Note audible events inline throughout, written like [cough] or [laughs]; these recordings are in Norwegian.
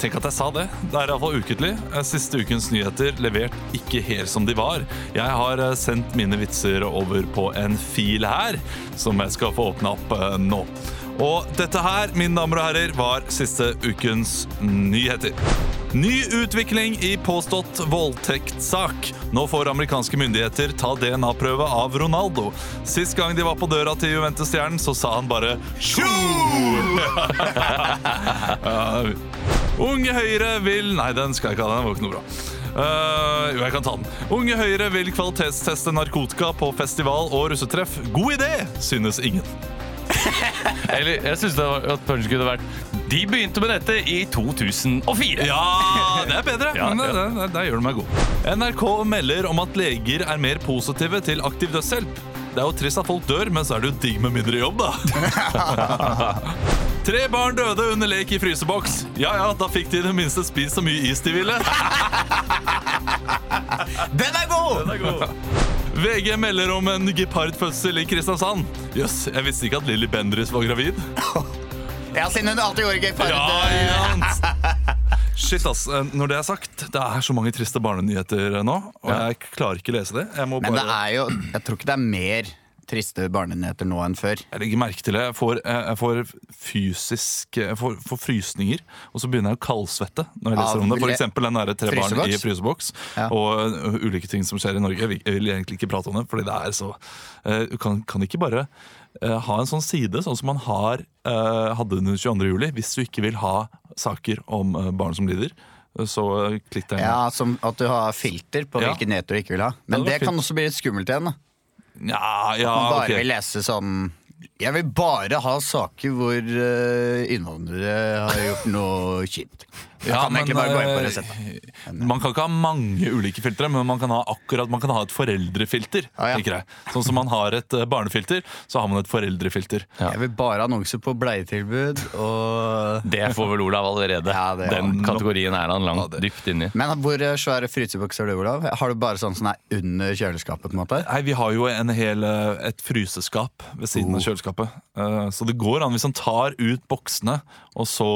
Tenk at jeg sa det. Det er iallfall ukentlig. Eh, Siste ukens nyheter levert ikke helt som de var. Jeg har eh, sendt mine vitser over på en fil her, som jeg skal få åpna opp eh, nå. Og dette her, mine damer og herrer, var siste ukens nyheter. Ny utvikling i påstått voldtektssak. Nå får amerikanske myndigheter ta DNA-prøve av Ronaldo. Sist gang de var på døra til Juventus-stjernen, så sa han bare «Tjo!» Ja, Unge Høyre vil Nei, den skal jeg ikke ha. Den var ikke noe bra. Eh, jo, jeg kan ta den. Unge Høyre vil kvalitetsteste narkotika på festival og russetreff. God idé, synes ingen. Eller jeg syns at punchen kunne vært De begynte med dette i 2004. Ja, det er bedre. Ja, men det, ja. det, der gjør du meg god. NRK melder om at leger er mer positive til aktiv dødshjelp. Det er jo trist at folk dør, men så er det jo digg med mindre jobb, da. [laughs] Tre barn døde under lek i fryseboks. Ja ja, da fikk de i det minste spist så mye is de [laughs] ville. Den er god! VG melder om en gepardfødsel i Kristiansand. Jøss, jeg visste ikke at Lilly Bendriss var gravid. Ja, siden hun alltid gjorde gepard. Ja, eh, ikke sant? [laughs] Shit, ass. Eh, Når det er sagt, det er så mange triste barnenyheter eh, nå, og jeg klarer ikke lese det. Jeg må Men bare... det er jo Jeg tror ikke det er mer triste barnenyheter nå enn før. Jeg legger merke til det. Jeg får, eh, jeg får fysisk jeg får, får frysninger, og så begynner jeg å kaldsvette når jeg Av leser om det. For le- eksempel den derre tre barn i fryseboks? fryseboks, Ja. og ø, ulike ting som skjer i Norge. Jeg vil, jeg vil egentlig ikke prate om det, fordi det er så eh, Du kan, kan ikke bare eh, ha en sånn side, sånn som man har, eh, hadde den 22. juli, hvis du ikke vil ha saker om eh, barn som lider. Så eh, klikk deg inn. Ja, som At du har filter på Ja. hvilke nyheter du ikke vil ha. Ja, det Men var det kan fint. også bli litt skummelt igjen. da Ja, ja, Man bare ok. vil lese sånn Jeg vil bare ha saker hvor eh, innvandrere har gjort noe kjipt. Da Ja, kan jeg ikke men, bare gå inn på eh, resepta. Man kan ikke ha mange ulike filtre, men man kan ha akkurat Man kan ha et foreldrefilter. Ah, ja. tenker jeg. Sånn som man har et eh, barnefilter, så har man et foreldrefilter. Jeg vil bare ha annonser på bleietilbud og Det får vel Olav allerede. Ja, det er Den han. kategorien er han langt Ja, det- dypt inni. Men hvor eh, svære frysebokser har du, Olav? Har du bare sånn som er under kjøleskapet? på en måte? Nei, Vi har jo en hel, eh, et fryseskap ved Oh. siden av kjøleskapet. Eh, Så det går an hvis han tar ut boksene og så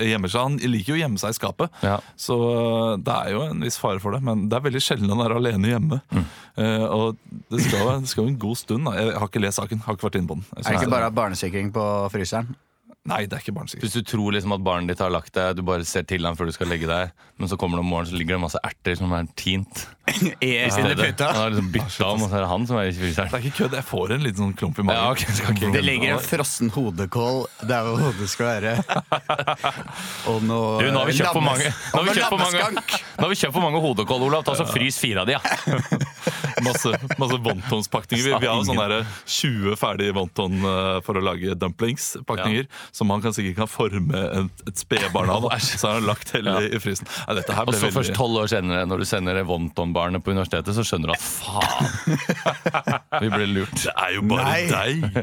gjemmer seg. Han liker jo å gjemme seg i skapet, Ja. så eh, det er jo en viss fare for det. Men det er veldig sjelden han er alene hjemme. Mm. Eh, Og det skal, det skal jo en god stund. Da. Jeg har ikke lest saken, har ikke vært inne på den. Jeg Er det synes ikke bare å ha barnesikring på fryseren? Nei, det er ikke barnesikkert. Hvis du tror liksom at barnet ditt har lagt deg, du bare ser til ham før du skal legge deg, men så kommer det om morgenen, så ligger det masse erter som er tint. I i stedet. Han har liksom bytta om, og så er det han som er i Det fryseren. er ikke kødd, jeg får en liten sånn klump i magen. Ja, ok, skal ikke- Det ligger en frossen hodekål der hvor hodet skal [laughs] være. Og noe Du, nå har vi kjøpt for lammes- mange, nå har og vi noe kjøpt for mange, lammeskank. nå har vi kjøpt for mange hodekål, Olav. Ta så Frys fire av de, ja. Masse, masse vontonspakninger. Vi, vi har jo Sa ingen. sånne der eh, 20 ferdige vonton eh, for å lage dumplingspakninger. Som han kan sikkert kan forme et, et spedbarn av. [laughs] da. Så har han lagt hele i frysen. Nei, dette her Og ble så veldig... Altså, først tolv år senere, når du sender det Wonton-barnet på universitetet, så skjønner du at faen, vi ble lurt. [laughs] Det er jo bare Nei. [laughs] deg!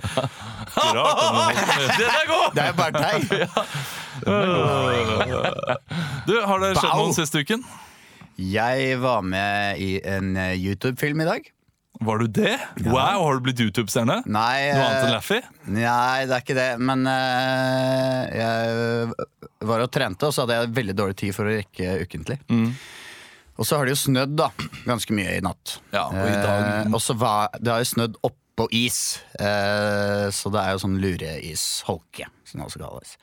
Rart, men- Den er god! Det er jo [laughs] bare deg. du, har det skjedd Bau. noen siste uken? Jeg var med i en eh, YouTube-film i dag. Var du det? Wow, har du blitt YouTube-stjerne? Noe Nei, annet enn eh, Laffy? nei, det er ikke det. Men eh, jeg var og trente, og så hadde jeg veldig dårlig tid for å rekke ukentlig. Mm. Og så har det jo snødd da, ganske mye i natt. Ja, og i dag- eh, og så var, det har jo snødd oppå is, eh, så det er jo sånn lureisholke, som det også kalles.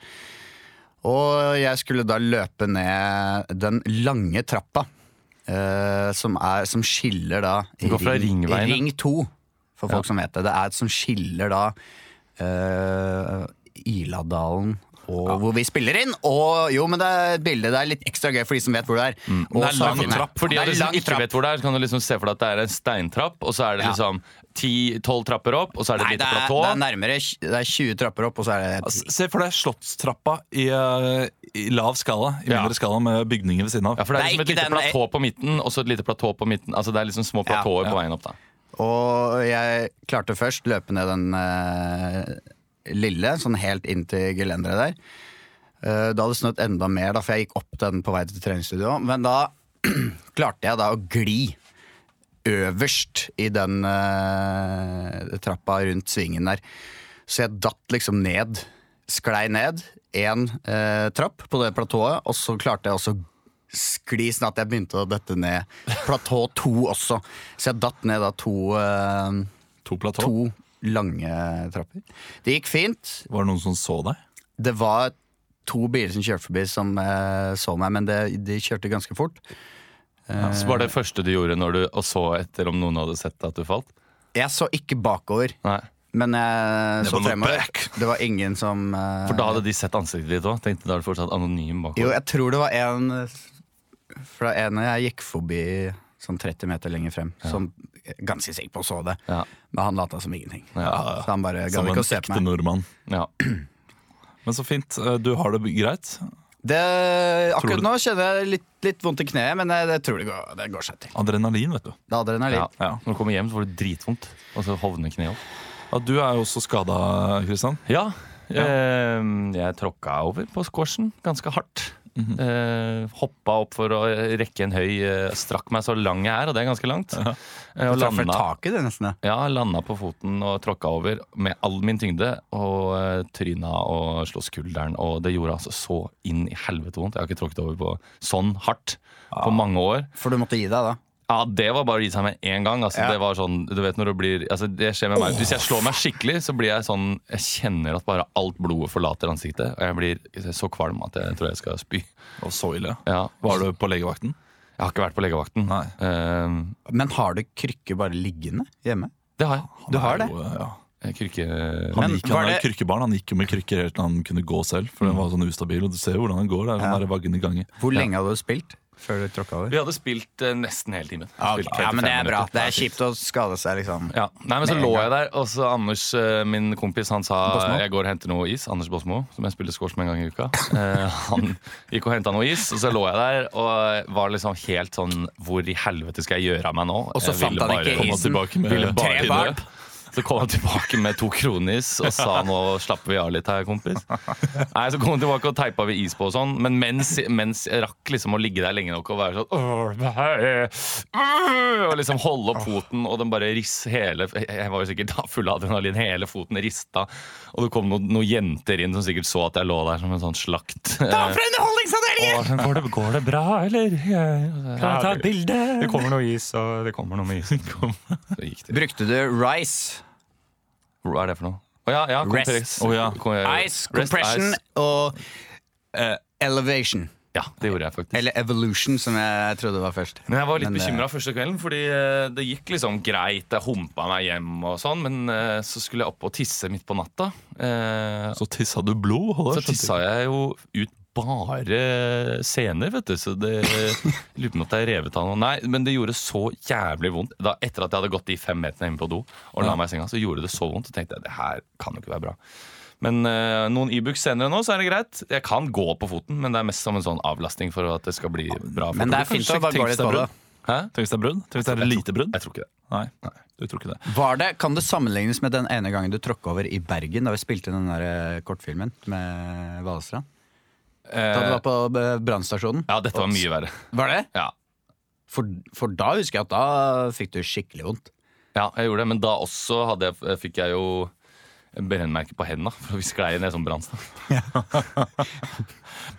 Og jeg skulle da løpe ned den lange trappa eh, som, er, som skiller da i Går fra ring- ringveien, ja. i Ring 2, for folk som vet det. Det er et som skiller da eh, Iladalen og hvor vi spiller inn. Og jo, men det er et bilde. Det er litt ekstra gøy for de som vet hvor det er. Mm. Og Det er lang saken trapp, For de av Det er dere som lang ikke vet hvor det er, så kan du liksom se for deg at det er en steintrapp, og så er det Ja. liksom ti-tolv trapper opp, og så er det Nei, et det lite er, platå. det er nærmere tj- Det er 20 trapper opp, og så er det Altså, Se for deg Slottstrappa i, eh, i lav skala, i Ja. mindre skala med bygninger ved siden av. Ja, for det er, Det er liksom et ikke lite den- platå på midten, og så et lite platå på midten. Altså det er liksom små Ja, platåer på veien opp, da. Og jeg klarte først løpe ned den eh, lille, sånn helt inn til gelenderet der. Eh, da hadde det snødd enda mer, da, for jeg gikk opp den på vei til treningsstudio. Men da [clears throat] klarte jeg da å gli øverst i den eh, trappa rundt svingen der. Så jeg datt liksom ned sklei ned én eh, trapp på det platået, og så klarte jeg også å skli sånn at jeg begynte å dette ned platå to også. Så jeg datt ned da to, eh, To platå. to lange trapper. Det gikk fint. Var det noen som så deg? Det var to biler som kjørte forbi som eh, så meg, men det, de kjørte ganske fort. Så var det første du gjorde når du og så etter om noen hadde sett at du falt? Jeg så ikke bakover, Nei. men jeg Never så look fremover. back. Det var ingen som eh, For da hadde de sett ansiktet ditt òg? Tenkte da er du fortsatt anonym Jo, bakover? jeg tror det var en For det var en jeg gikk forbi sånn 30 meter lenger frem, som jeg er ganske sikker på så det. Ja. Men han lata som ingenting. Ja, Så han bare Eh, Som gadd en ikke å se på ekte meg. nordmann. ja. Men så fint. Eh, Du har det greit? Det, Tror du- akkurat nå kjenner jeg litt, litt vondt i kneet, men jeg, jeg tror det går, det går seg til. Adrenalin, vet du. Det er adrenalin. ja. Når du kommer hjem, så får du dritvondt, og så hovner kneet opp. Ja, du er jo også skada, Kristian. Ja, eh, jeg tråkka over på squashen ganske hardt. eh, hoppa opp for å rekke en høy eh, Strakk meg så lang jeg er, og det er ganske langt. Eh, og Jeg traff vel landa, taket, det nesten. ja. ja, landa på foten og tråkka over med all min tyngde. Og eh, tryna og slo skulderen, og det gjorde altså så inn i helvete vondt. Jeg har ikke tråkket over på sånn hardt på mange år. For du måtte gi deg da. Ja, det var bare å gi seg med én gang. Altså, Ja. Det var sånn, du vet når det blir altså, Det skjer med meg. Hvis jeg slår meg skikkelig, så blir jeg sånn Jeg kjenner at bare alt blodet forlater ansiktet. Og jeg blir så kvalm at jeg tror jeg skal spy. Og så ille. Ja. Var du på legevakten? Jeg har ikke vært på legevakten. Nei. Ehm, Men har du krykke bare liggende hjemme? det har jeg. Han Du er har det? Jo, eh, ja. Krykke... Han, Men gikk, han var er det- jo krykkebarn. Han gikk jo med krykker helt til han kunne gå selv. For den var sånn ustabil, og du ser jo hvordan han går. Det er sånn Ja. der vaggen i gangen. Hvor lenge hadde du spilt før du tråkka over? Vi hadde spilt eh, nesten hele timen. Spilt 35 minutter. Det er kjipt å skade seg, liksom. Ja. Nei, men så lå jeg der, og så Anders, eh, min kompis, han sa Bosmo? jeg går og henter noe is. Anders Bosmo, som jeg spiller squash med en gang i uka. Eh, han gikk og henta noe is, og så lå jeg der og var liksom helt sånn Hvor i helvete skal jeg gjøre av meg nå? Og så Jeg fant ville han ikke bare- Kom han isen. tilbake med ville Eh, bare Tre inn i barn. det. Så kom han tilbake med to kronis og sa nå slapper vi av litt her, kompis. Nei, Så kom han tilbake og teipa vi is på og sånn, men mens, mens jeg rakk liksom å ligge der lenge nok og være sånn «Åh, det her er- øh», Og liksom holde opp foten, og den bare riss hele Jeg var jo sikkert da full av adrenalin, hele foten rista. Og det kom noen, noen jenter inn som sikkert så at jeg lå der som en sånn slakt. [laughs] underholdningsavdelingen! Og sånn, går, det, går det bra, eller? Kan jeg ta et bilde? Det kommer noe is, og det kommer noe [laughs] med is. Så gikk det. Brukte du Rice, Hva er det for noe? Å ja, ja, Rest. kompress. Å ja. Kom- Ice, Eh, Rest, Compression ice. og eh, Elevation? Ja, det gjorde jeg faktisk. Eller Evolution, som jeg trodde var først. Men jeg var litt Men eh, det- bekymra første kvelden, fordi eh, det gikk liksom greit. Jeg humpa meg hjem og sånn, men eh, så skulle jeg opp og tisse midt på natta. Eh, Så tissa du blod? Håvard, Så skjønte tissa jeg jo ut bare sener, vet du. Så det lurer på om at jeg revet av noe. Nei, men det gjorde så jævlig vondt. Da, etter at jeg hadde gått de fem meterne hjemme på do og la Ja. meg i senga, så gjorde det så vondt. Så tenkte jeg det her kan jo ikke være bra. Men eh, noen Ibux senere nå, så er det greit. Jeg kan gå på foten, men det er mest som en sånn avlastning for at det skal bli bra. Men det er fint å bare gå litt på det. Hæ? Tenk hvis det er brudd? Tenk hvis det er lite brudd? Jeg tror ikke det. Nei, du tror ikke det. Var det, Kan det sammenlignes med den ene gangen du tråkka over i Bergen, da vi spilte inn den der eh, kortfilmen med Valestrand? Da du var på eh, brannstasjonen? Ja, dette var mye verre. Var det? Ja. For, for da husker jeg at da fikk du skikkelig vondt. ja, jeg gjorde det, men da også hadde jeg, fikk jeg jo brennmerke på hendene, [laughs] for vi sklei ned som brannstang.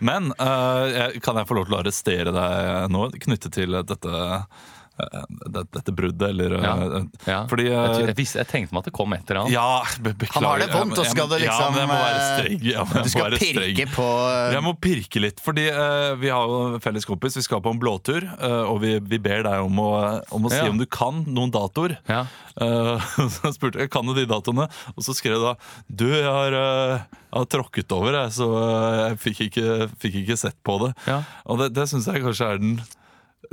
Men eh, jeg- kan jeg få lov til å arrestere deg nå, knyttet til dette eh, det- dette bruddet, eller eh, Ja. Fordi eh, jeg, jeg, visste- jeg tenkte meg at det kom et eller annet. Ja, be beklager. Han har det vondt, og Jeg- skal det Ja, liksom, men jeg må være eh, streng. Jeg må Du skal være streng. pirke på Eh, eh, Jeg må pirke litt, fordi eh, vi har jo en felles kompis. Vi skal på en blåtur, eh, og vi, vi ber deg om å, eh, om å si Ja. om du kan noen datoer. Ja. Eh, [laughs] så jeg spurte jeg kan du de datoene, og så skrev jeg da Du, jeg har, eh, jeg har tråkket over, jeg, så eh, jeg fikk ikke, fikk ikke sett på det. Ja. Og det, det syns jeg kanskje er den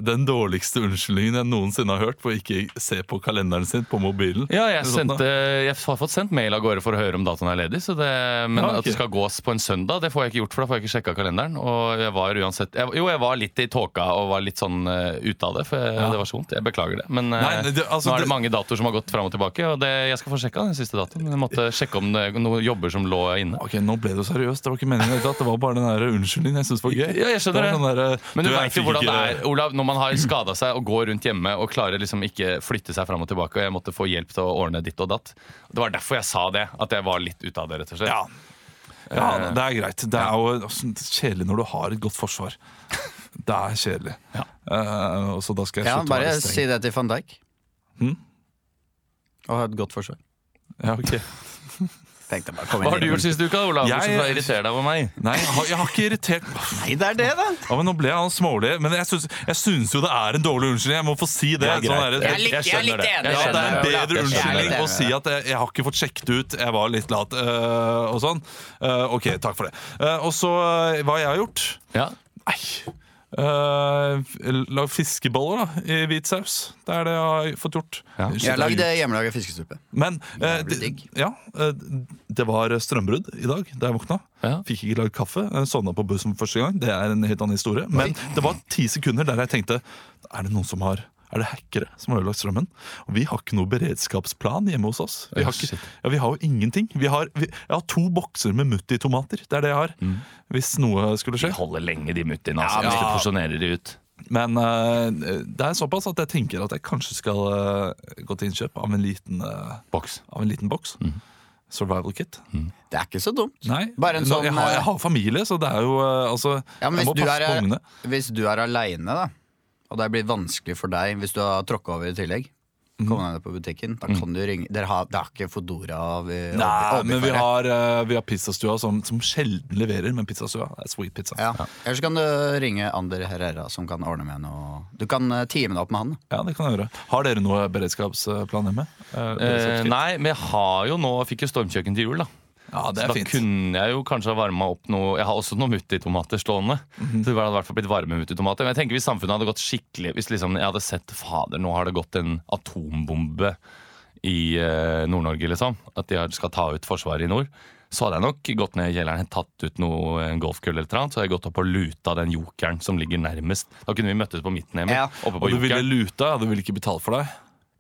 den dårligste unnskyldningen jeg noensinne har hørt for å ikke se på kalenderen sin på mobilen. Ja, Eller jeg, sånt da. sendte, jeg har fått sendt mail av gårde for å høre om datoen er ledig. Så det, men Ja, ok. at det skal gås på en søndag, det får jeg ikke gjort. For da får jeg ikke sjekka kalenderen. Og jeg var uansett jeg, Jo, jeg var litt i tåka og var litt sånn eh, ute av det, for jeg, det var så vondt. Jeg beklager det. Men eh, Nei, nei, det- altså, nå er det, det- mange datoer som har gått fram og tilbake, og det, jeg skal få sjekka den siste datoen. Men Jeg måtte sjekke om det er noen jobber som lå inne. Ok, nå ble det jo seriøst. Det var ikke meningen. i det hele tatt. Det var bare den der unnskyldningen jeg syntes var gøy. Ja, jeg skjønner er det. sånn der, Men du, jeg vet jo fikk hvordan det ikke- er eh. Olav, når man har skada seg og går rundt hjemme og klarer liksom ikke flytte seg fram og tilbake, og jeg måtte få hjelp til å ordne ditt og datt. Det var derfor jeg sa det. At jeg var litt ute av det, rett og slett. Ja, Eh, Ja, det er greit. Det er jo altså, kjedelig når du har et godt forsvar. Det er kjedelig. Eh, og så da skal jeg Ja, slutte å bare være si streng. det til van Dijk. Hm? Og ha et godt forsvar. Ja, ok. Tenkte bare kom Hva har du inn. gjort siste uka, Olav? Jeg- Bortsett fra å irritere deg over meg. Nei, jeg har, jeg har ikke irritert Nei, det er det, da! Ja, men Nå ble han smålig, men jeg syns, jeg syns jo det er en dårlig unnskyldning. Jeg må få si det. sånn Det er greit. er det- Jeg er litt- jeg er litt enig. Ja, det er en Jeg skjønner det, bedre Olav. Jeg er litt unnskyldning enig. å si at jeg, jeg har ikke fått sjekket ut, jeg var litt lat øh, og sånn. Øh, ok, takk for det. Øh, og så øh, hva jeg har gjort? Ja. Nei øh, Lag fiskeboller, da, i hvit saus. Det er det jeg har fått gjort. Ja. Shit, Jeg har det lagd er eh, hjemmelaga fiskestupe. men eh, Jævlig det- digg. ja, eh, det var strømbrudd i dag da jeg våkna. Ja. Fikk ikke lagd kaffe. eh, Sovna på bussen for første gang. Det er en helt annen historie. Men det var ti sekunder der jeg tenkte Er det noen som har er det hackere som har ødelagt strømmen? Og vi har ikke noe beredskapsplan hjemme hos oss. Vi Ja, har, ikke, shit. ja, vi har jo ingenting. Vi har, vi, jeg har to bokser med mutti-tomater. Det er det jeg har. Mm. Hvis noe skulle De skje. holder lenge, de muttiene. Altså, Ja, Hvis du ja. porsjonerer de ut. Men eh, det er såpass at jeg tenker at jeg kanskje skal eh, gå til innkjøp av en liten, eh, Boks. av en liten boks. Mm. Survival kit. Det er ikke så dumt. Nei, Bare en nå- sånn, jeg, har, jeg eh, har familie, så det er jo eh, altså, Ja, men Jeg må hvis du, passe er, eh, på ungene. hvis du er aleine, da, og det blir vanskelig for deg hvis du har tråkka over i tillegg Mm. Kom deg ned på butikken, da kan du ringe Dere har, det har ikke Fodora av eh, Nei, overfare. men vi har, eh, vi har pizzastua som, som sjelden leverer, men pizzastua er sweet pizza. Ja, ja. Eller så kan du ringe Ander Herrera, som kan ordne med noe Du kan eh, time deg opp med han. det kan jeg gjøre. Har dere noe beredskapsplan hjemme? Eh, Eh, beredskapskit? nei, men jeg har jo nå Fikk jo stormkjøkken til jul, da. ja, det Da er fint. kunne jeg jo kanskje ha varma opp noe Jeg har også noen muttitomater stående. Mhm. Så det hadde i hvert fall blitt varme muttitomater. Men jeg tenker hvis samfunnet hadde gått skikkelig Hvis liksom jeg hadde sett Fader, nå har det gått en atombombe i eh, Nord-Norge, liksom. At de har- skal ta ut Forsvaret i nord. Så hadde jeg nok gått ned i kjelleren, tatt ut noe en golfkølle eller et eller annet. Så hadde jeg gått opp og luta den jokeren som ligger nærmest. Da kunne vi møttes på midten, Emil. Ja. Oppe på Og du ville jokeren. lute, ja, du ville ikke betale for deg?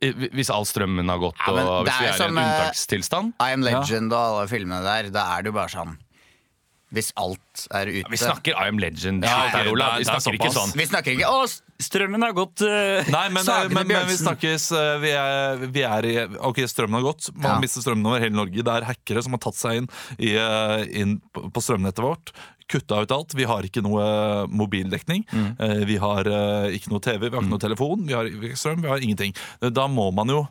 I- Hvis all strømmen har gått, Ja, men og det hvis er vi er i en som, eh, unntakstilstand. I Am Legend og alle filmene der, da er det jo bare sånn Hvis alt er ute Vi snakker I am legend. Ja, Shit, ok, Olav. det er- vi det er snakker ikke såpass. sånn. Vi snakker ikke Å, strømmen har gått! eh, Nei, men, eh, Sagene men, men vi Bjørnsen». snakkes eh, vi er, vi er i Ok, strømmen har gått. Man Ja. mister strømmen over hele Norge. Det er hackere som har tatt seg inn, i, eh, inn på på strømnettet vårt. Kutta ut alt. Vi har ikke noe eh, mobildekning. Mm. Eh, Vi har eh, ikke noe TV, vi har ikke noe telefon, vi har ikke strøm, vi har ingenting. Eh, Da må man jo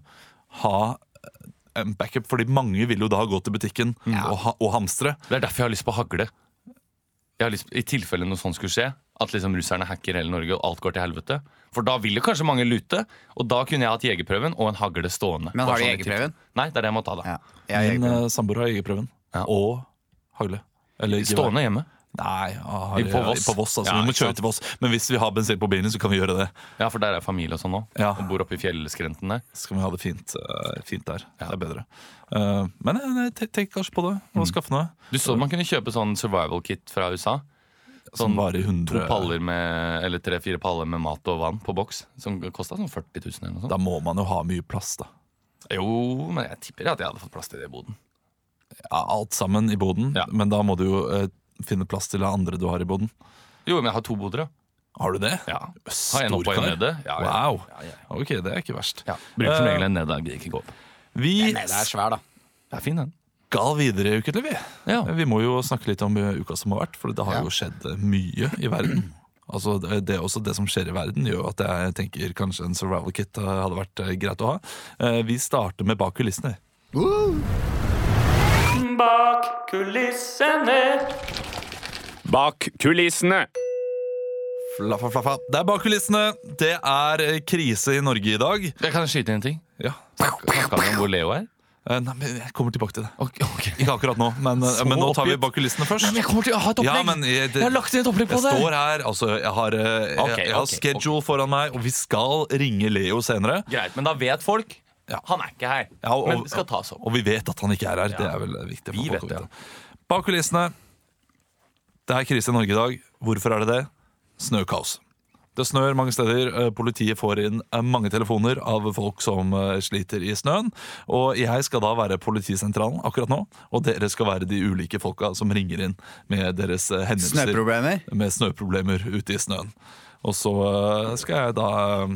ha eh, en backup, fordi mange vil jo da gå til butikken og, ha, og hamstre. Det er derfor jeg har lyst på hagle. Jeg har lyst, I tilfelle noe sånt skulle skje, at liksom russerne hacker hele Norge og alt går til helvete. For da vil jo kanskje mange lute, og da kunne jeg hatt jegerprøven og en hagle stående. Men har Bare du sånn i tilfelle. jegerprøven? Nei, det er det jeg må ta, da. Ja, jeg, Min jeg, eh, samboer har jegerprøven. Ja. Og hagle. Eller gevær. Stående hjemme. Nei, ah, har, I- på Voss? på Voss altså, Ja, vi må ikke kjøre sant. til Voss. Men hvis vi har bensin på bilen, så kan vi gjøre det. Ja, for der er familie og sånn nå. Ja. Og bor oppe i fjellskrenten der. Så kan vi ha det fint, eh, fint der. Det er bedre. Eh, men eh, nei, te- tenk kanskje på det, Mm. og skaffe noe Du så man kunne kjøpe sånn survival kit fra USA. som eh, Sånn varer i To 100 paller med, eller tre-fire paller med mat og vann på boks. Som kosta sånn 40 000 eller noe sånt. Da må man jo ha mye plass, da. Jo, men jeg tipper at jeg hadde fått plass til det i boden. Ja, alt sammen i boden, Ja. men da må du jo eh, finne plass til det andre du har i boden. Jo, men jeg har to boder, ja. Har du det? ja. Har jeg en oppe og en Storkar. nede? Ja, Eh, ja. Wow. Ja, ja, Ok, det er ikke verst. Ja, bruker som regel en ned, da. Gidder ikke gå opp. Vi Nei, det er svær, da. Det er fin, den. skal videre i ukentlig, vi. Ja. Vi må jo snakke litt om eh, uka som har vært, for det har jo skjedd eh, mye i verden. Altså det, det, er også det som skjer i verden, gjør jo at jeg tenker kanskje en survival kit eh, hadde vært eh, greit å ha. Eh, Vi starter med bak kulissene. Bak kulissene. Bak kulissene. Fla, fla, fla, fla. Det er bak kulissene! Det er eh, krise i Norge i dag. Jeg kan skyte inn en ting. Ja. Snakka vi om hvor Leo er? Eh, Nei, men jeg kommer tilbake til det. Ok, ok. Ikke akkurat nå, men, eh, Så men nå tar vi oppgitt. bak kulissene først. Men jeg kommer til å ha et Ja, opplegg! men jeg- det- jeg har lagt inn et opplegg på Jeg det! står her, altså jeg har, eh, jeg, Ok, jeg har ok, schedule foran meg, og vi skal ringe Leo senere. Greit, men da vet folk. Ja. Han er ikke her. Ja, og- men det skal tas opp. Og vi vet at han ikke er her. Det er vel viktig. for Vi folk vet å vite. Bak kulissene. Det er krise i Norge i dag. Hvorfor er det det? Snøkaos. Det snør mange steder. Eh, Politiet får inn eh, mange telefoner av folk som eh, sliter i snøen. Og jeg skal da være politisentralen akkurat nå, og dere skal være de ulike folka som ringer inn med deres eh, hendelser Snøproblemer? med snøproblemer ute i snøen. Og så eh, skal jeg da eh,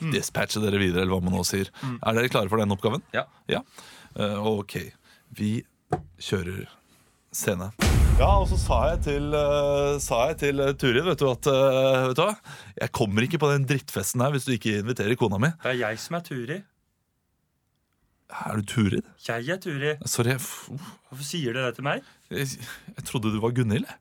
Mm. dispatche dere videre, eller hva man nå sier. Er dere klare for den oppgaven? Ja. Ja. Eh, ok, vi Eh, kjører scene. Ja, og så sa jeg til, eh, sa jeg til eh, Turid vet du, at eh, vet du hva? jeg kommer ikke på den drittfesten her hvis du ikke inviterer kona mi. Det er jeg som er Turi. Er du Turid? Jeg er Turi. Sorry, jeg, f- uff. Hvorfor sier dere det til meg? jeg, jeg trodde du var Gunhild. jeg.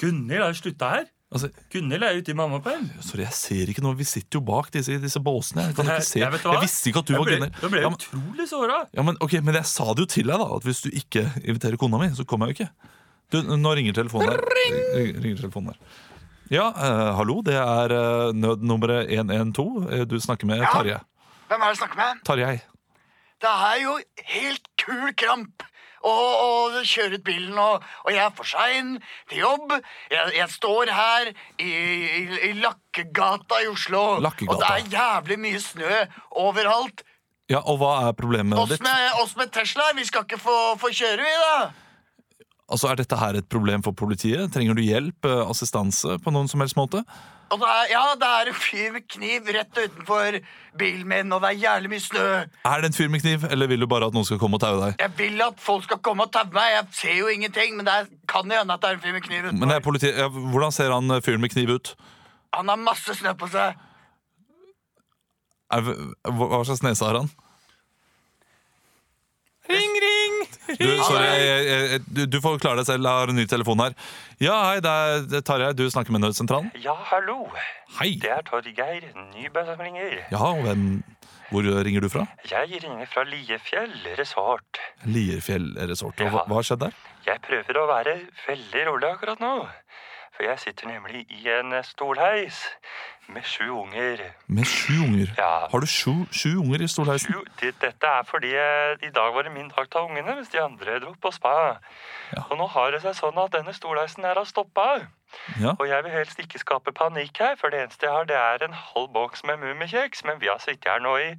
Gunhild har jo slutta her. Altså, Gunhild er ute i mammaperm. sorry, jeg ser ikke noe. Vi sitter jo bak disse, disse båsene. [laughs] Jeg, kan Nei, ikke se. jeg vet hva. jeg visste ikke at du Jeg var ble, Gunhild. jeg ble Ja, men, utrolig såra. ja, men, ok, men jeg sa det jo til deg, da. At hvis du ikke inviterer kona mi, så kommer jeg jo ikke. Du, nå ringer telefonen der. Ring- Ringer telefonen der. Ja, eh, hallo, det er eh, nødnummeret 112. Eh, Du snakker med Tarjei. Hvem er det jeg snakker med? Tarjei. Det er jo helt kul kramp å, å kjøre ut bilen, og, og jeg er for sein til jobb. Jeg, jeg står her i, i, i Lakkegata i Oslo, Lakkegata. og det er jævlig mye snø overalt. Ja, og hva er problemet Oss ditt? med, oss med Tesla, vi skal ikke få, få kjøre, vi, da. Altså, Er dette her et problem for politiet? Trenger du hjelp, eh, assistanse på noen som helst måte? Og det er, ja, det er en fyr med kniv rett utenfor bilen min, og det er jævlig mye snø. Er det en fyr med kniv, eller vil du bare at noen skal komme og taue deg? Jeg vil at folk skal komme og taue meg. Jeg ser jo ingenting, men det er, kan jo hende at det er en fyr med Men kniv det utenfor. er politiet, ja, Hvordan ser han eh, fyren med kniv ut? Han har masse snø på seg. Er, hva hva slags nese har han? Ring, ring! Du, sorry, jeg, jeg, jeg- du, du får klare deg selv. Jeg har en ny telefon her. Ja, hei, det er det er Tarjei. Du snakker med Nødsentralen? Ja, hallo. Hei! Det er Torgeir Nybø som ringer. Ja, og hvem Hvor ringer du fra? Jeg ringer fra Liefjell resort. Lierfjell resort. Og Ja. hva, hva har skjedd der? Jeg prøver å være veldig rolig akkurat nå. For jeg sitter nemlig i en stolheis med sju unger. Med sju unger. Ja. Har du sju, sju unger i stolheisen? Sju, det, dette er fordi eh, i dag var det min dag til ungene, mens de andre dro på spa. Og nå har det seg sånn at denne stolheisen her har stoppa. Ja. Og jeg vil helst ikke skape panikk her, for det eneste jeg har, det er en halv boks med mummikjeks. Men vi har sittet her nå i,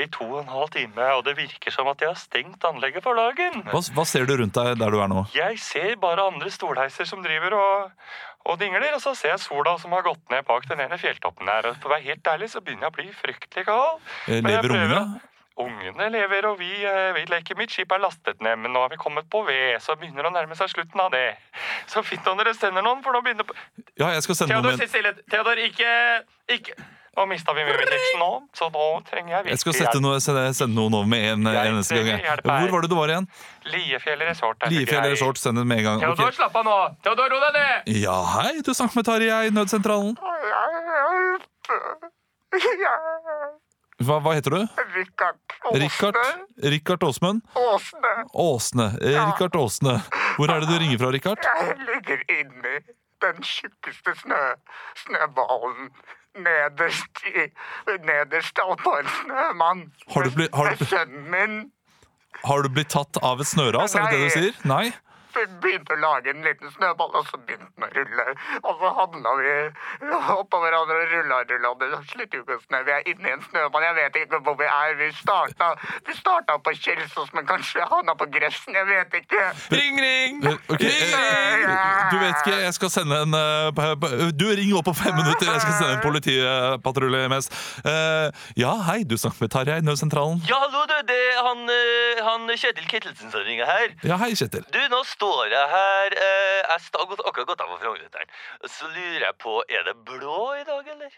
i to og en halv time, og det virker som at de har stengt anlegget for dagen. Hva, hva ser du rundt deg der du er nå? Jeg ser bare andre stolheiser som driver og, og dingler, og så ser jeg sola som har gått ned bak den ene fjelltoppen der. Og for å være helt ærlig så begynner jeg å bli fryktelig gal. Eh, Men jeg Lever prøver- ungene? Ungene lever, og vi, eh, vi leker mitt skip er lastet ned, men nå har vi kommet på ved, så begynner det å nærme seg slutten av det. Så fint om dere sender noen, for nå begynner på... Ja, jeg skal sende noen Theodor, med. sitt stille. Theodor, ikke... ikke. Nå mista vi mummikjeksen nå, så nå trenger jeg Jeg skal virkelig sende noen, sende, sende noen over med en, Jeg en eneste gang. trenger jeg. hjelp her. Hvor var det du var igjen? Liefjell resort. er det Liefjell jeg- resort, send den med en gang. Theodor, Ok. slapp av nå. Theodor, ro deg ned. Ja, hei, du snakker med Tarjei i Nødsentralen. Hva, hva heter du? Richard Richard Åsmund? Åsne. Eh, Richard Åsne. Hvor er det du ringer fra, Richard? Jeg ligger inni den tjukkeste snø, snøballen. Nederst, i, nederst på en snømann. Har du blitt- har du- Med Sønnen min Har du blitt tatt av et snøras, er det det du Nei. sier? Nei? begynte å lage en liten snøball, og så begynte den å rulle. Og så havna vi oppå hverandre og rulla og rulla. og Det slutter jo ikke å snø. Vi er inni en snømann. Jeg vet ikke hvor vi er. Vi starta, vi starta på Kjelsås, men kanskje havna på Gressen. Jeg vet ikke. Ring, ring! Eh, Ok, eh, du vet ikke, jeg skal sende en eh, pa- pa- Du ringer opp på fem minutter, jeg skal sende en politipatrulje mest. Eh, ja, hei, du snakker med Tarjei i Nødsentralen. Ja, hallo, du. Det er han, eh, han Kjetil Kittelsen som ringer her. Ja, hei, Kjetil. Du, nå står jeg her eh, Jeg sta- har gått- akkurat gått av på Frognerseteren. Så lurer jeg på Er det blå i dag, eller?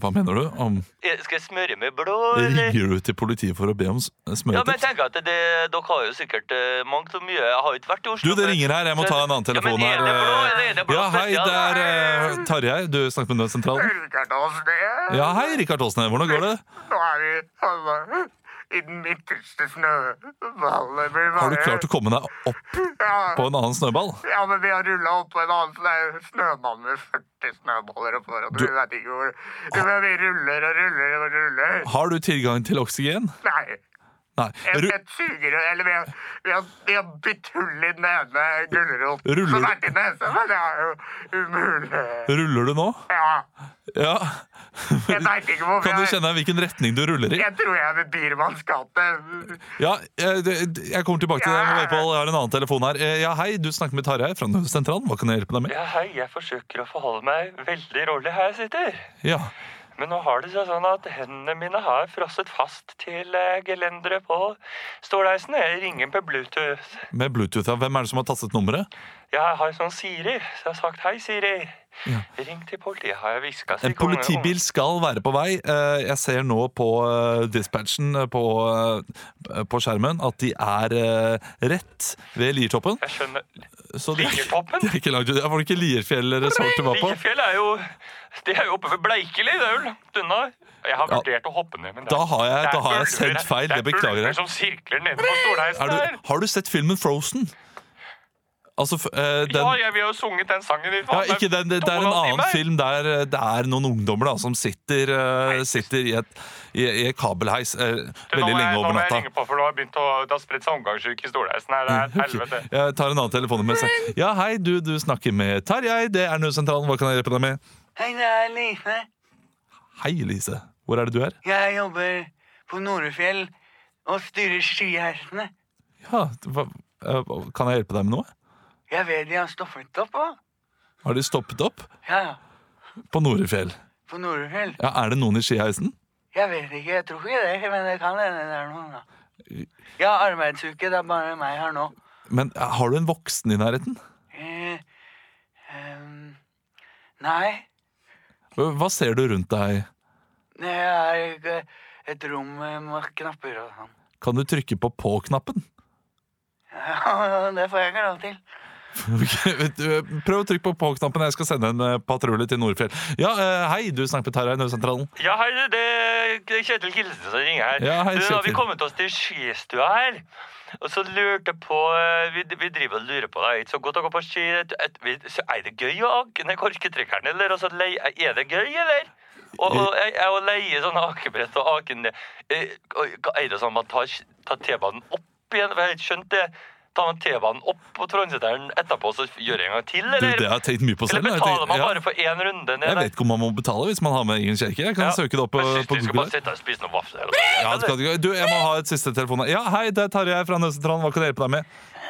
Hva mener du? Om, Er, skal jeg smøre med blå, eller? ringer du til politiet for å be om s- Ja, men jeg smøretips? tenker at det, Dere har jo sikkert eh, mangt og mye. Jeg har jo ikke vært i Oslo. Du, det men- ringer her. Jeg må ta en annen Ja, men telefon er her. eh. det blå, eller er det blå Ja, hei, spesial? det er eh, Tarjei. Du snakker med Nødsentralen. Ørgardåsen, det. Ja, hei, Rikard Åsne. Hvordan går det? Nå er vi altså, i den midterste snøballen. Vi Har du bare- klart å komme deg opp ja, på en annen snøball? ja, men vi har rulla oppå en annen så det er jo snømann med 40 snøballer oppå hverandre. Du- Vi vet ikke hvor Du, men Vi ruller og ruller og ruller. Har du tilgang til oksygen? Nei. Nei. Et, Ru et sugerør Eller vi har, vi har, vi har bitt hull i den ene gulroten Ruller som du- er til nesa, men det er jo umulig. ruller du nå? Ja. Ja. [laughs] Jeg veit ikke hvor vi Kan du er. kjenne hvilken retning du ruller i? Jeg tror jeg er ved Biermanns gate. Ja, jeg, det- jeg kommer tilbake til det. Jeg må høre på. Jeg har en annen telefon her. Eh, Ja, hei, du snakker med Tarjei fra Nødsentralen. Hva kan jeg hjelpe deg med? Ja, hei, jeg forsøker å forholde meg veldig rolig her jeg sitter. Ja. Men nå har det seg sånn at hendene mine har frosset fast til eh, gelenderet på ståleisen. Jeg ringer på Bluetooth. Med Bluetooth, ja. Hvem er det som har tastet nummeret? Jeg har sånn Siri, så jeg har sagt 'hei, Siri'. Ring til politiet, har jeg hviska. En politibil skal være på vei. Eh, Jeg ser nå på eh, dispatchen eh, på, eh, på skjermen at de er eh, rett ved Liertoppen. Jeg skjønner. Så det- [laughs] Liertoppen? Det er ikke langt ut. Det var ikke Lierfjell resort du var på? Vikefjell er jo Det er jo oppe ved Bleikeli. Det er jo langt unna. Jeg har Ja. vurdert å hoppe ned, men det er- Da har jeg, det er da har jeg ulver- sendt feil. Det er beklager ulver jeg. som sirkler nede på Er stolheisen her. du, har du sett filmen Frozen? Altså f- eh, den Ja, jeg vil jo sunget den sangen i ja, faen meg ikke den, det, det er to og en halv annen time. film der eh, det er noen ungdommer da, som sitter, eh, sitter i, et, i, i et kabelheis eh, Du, nå veldig må jeg- lenge Nå over må jeg natta. ringe på, for det har begynt å Det har spredt seg omgangssyke i stolheisen her. Det er helvete. Jeg tar en annen telefonmesse. Ja, hei, du, du snakker med Tarjei. Det er nødsentralen. Hva kan jeg hjelpe deg med? Hei, det er Lise. Hei, Lise. Hvor er det du er? Jeg jobber på Norefjell og styrer skiheisene. Ja, hva, eh, hva- kan jeg hjelpe deg med noe? Jeg vet de har stoppet opp òg. Har de stoppet opp Ja, på Norefjell? på Norefjell. Ja, er det noen i skiheisen? Jeg vet ikke, jeg tror ikke det, men det kan hende det er noen, da. Jeg har arbeidsuke, det er bare meg her nå. Men eh, har du en voksen i nærheten? Eh, ehm, nei, Hva hva ser du rundt deg? det er ikke et rom med knapper og sånn. [laughs] Kan du trykke på på-knappen? Ja, det får jeg ikke lov til. Ok, vet du, eh, Prøv å trykke på på-knappen. Jeg skal sende en eh, patrulje til Nordfjell. Ja, eh, hei, du snakker med Tarjei Nødsentralen. Ja, hei, det det er Kjetil Kilsen som ringer her. Ja, hei, du, nå har vi Kjetil. kommet oss til skistua her. Og så lurte på eh, Vi, vi driver og lurer på deg. Så godt å gå på ski. Et, et, vi, så er det gøy å ake ned korketrekkeren, eller? Og så lei, er det gøy, eller? Og, og, jeg- jeg- å leie sånn akebrett og ake ned eh, og- hva Er det sånn at man tar, tar T-banen opp igjen? For jeg har ikke skjønt det. Tar man T-banen opp på Trondheimsdalen etterpå, så gjør jeg en gang til, Du, eller? det har jeg tenkt mye på selv. eller Jeg betaler tenker- man ja. bare for én runde ned? Jeg vet ikke om man må betale hvis man har med egen kjeke. Jeg kan Ja. søke det opp på, Jeg synes på vi skal Google. bare sitte her og spise noen vafler. eller noe. Ja, det kan du ikke. du, jeg må ha et siste telefon. Ja, hei, det er Tarjei fra Nødsentralen. Hva kan jeg hjelpe deg med? [laughs]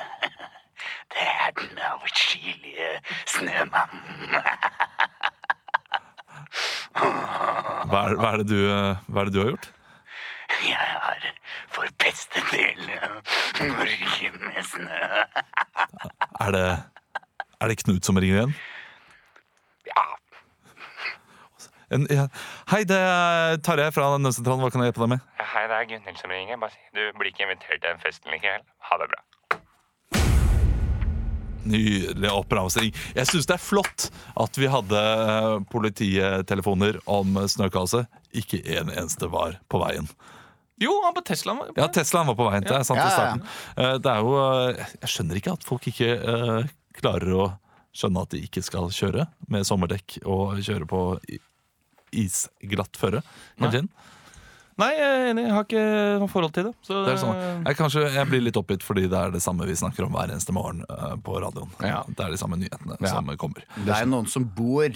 Det er den avskyelige snømannen. Hva er, hva, er det du, eh, hva er det du har gjort? Jeg har forpestet hele Norge med snø. Er det, er det Knut som ringer igjen? Ja, En, ja. Hei, det er Tarjei fra Nødsentralen. Hva kan jeg hjelpe deg med? Ja, Hei, det er Gunhild som ringer. Bare si du blir ikke invitert til den festen likevel. Ha det bra. Nydelig oppramsing. Jeg syns det er flott at vi hadde eh, polititelefoner om snøkaoset. Ikke en eneste var på veien. Jo, han på Teslaen. var- Ja, Teslaen var på veien til. Det er sant i Ja, ja, ja. starten. Eh, Det er jo eh, Jeg skjønner ikke at folk ikke eh, klarer å skjønne at de ikke skal kjøre med sommerdekk og kjøre på i- isglatt føre. Hele tiden. Nei, jeg er enig. Jeg har ikke noe forhold til det. Så Det er Eh. sånn. jeg, kanskje jeg blir litt oppgitt fordi det er det samme vi snakker om hver eneste morgen eh, på radioen. Ja. Det er de samme nyhetene som kommer. Det er noen som bor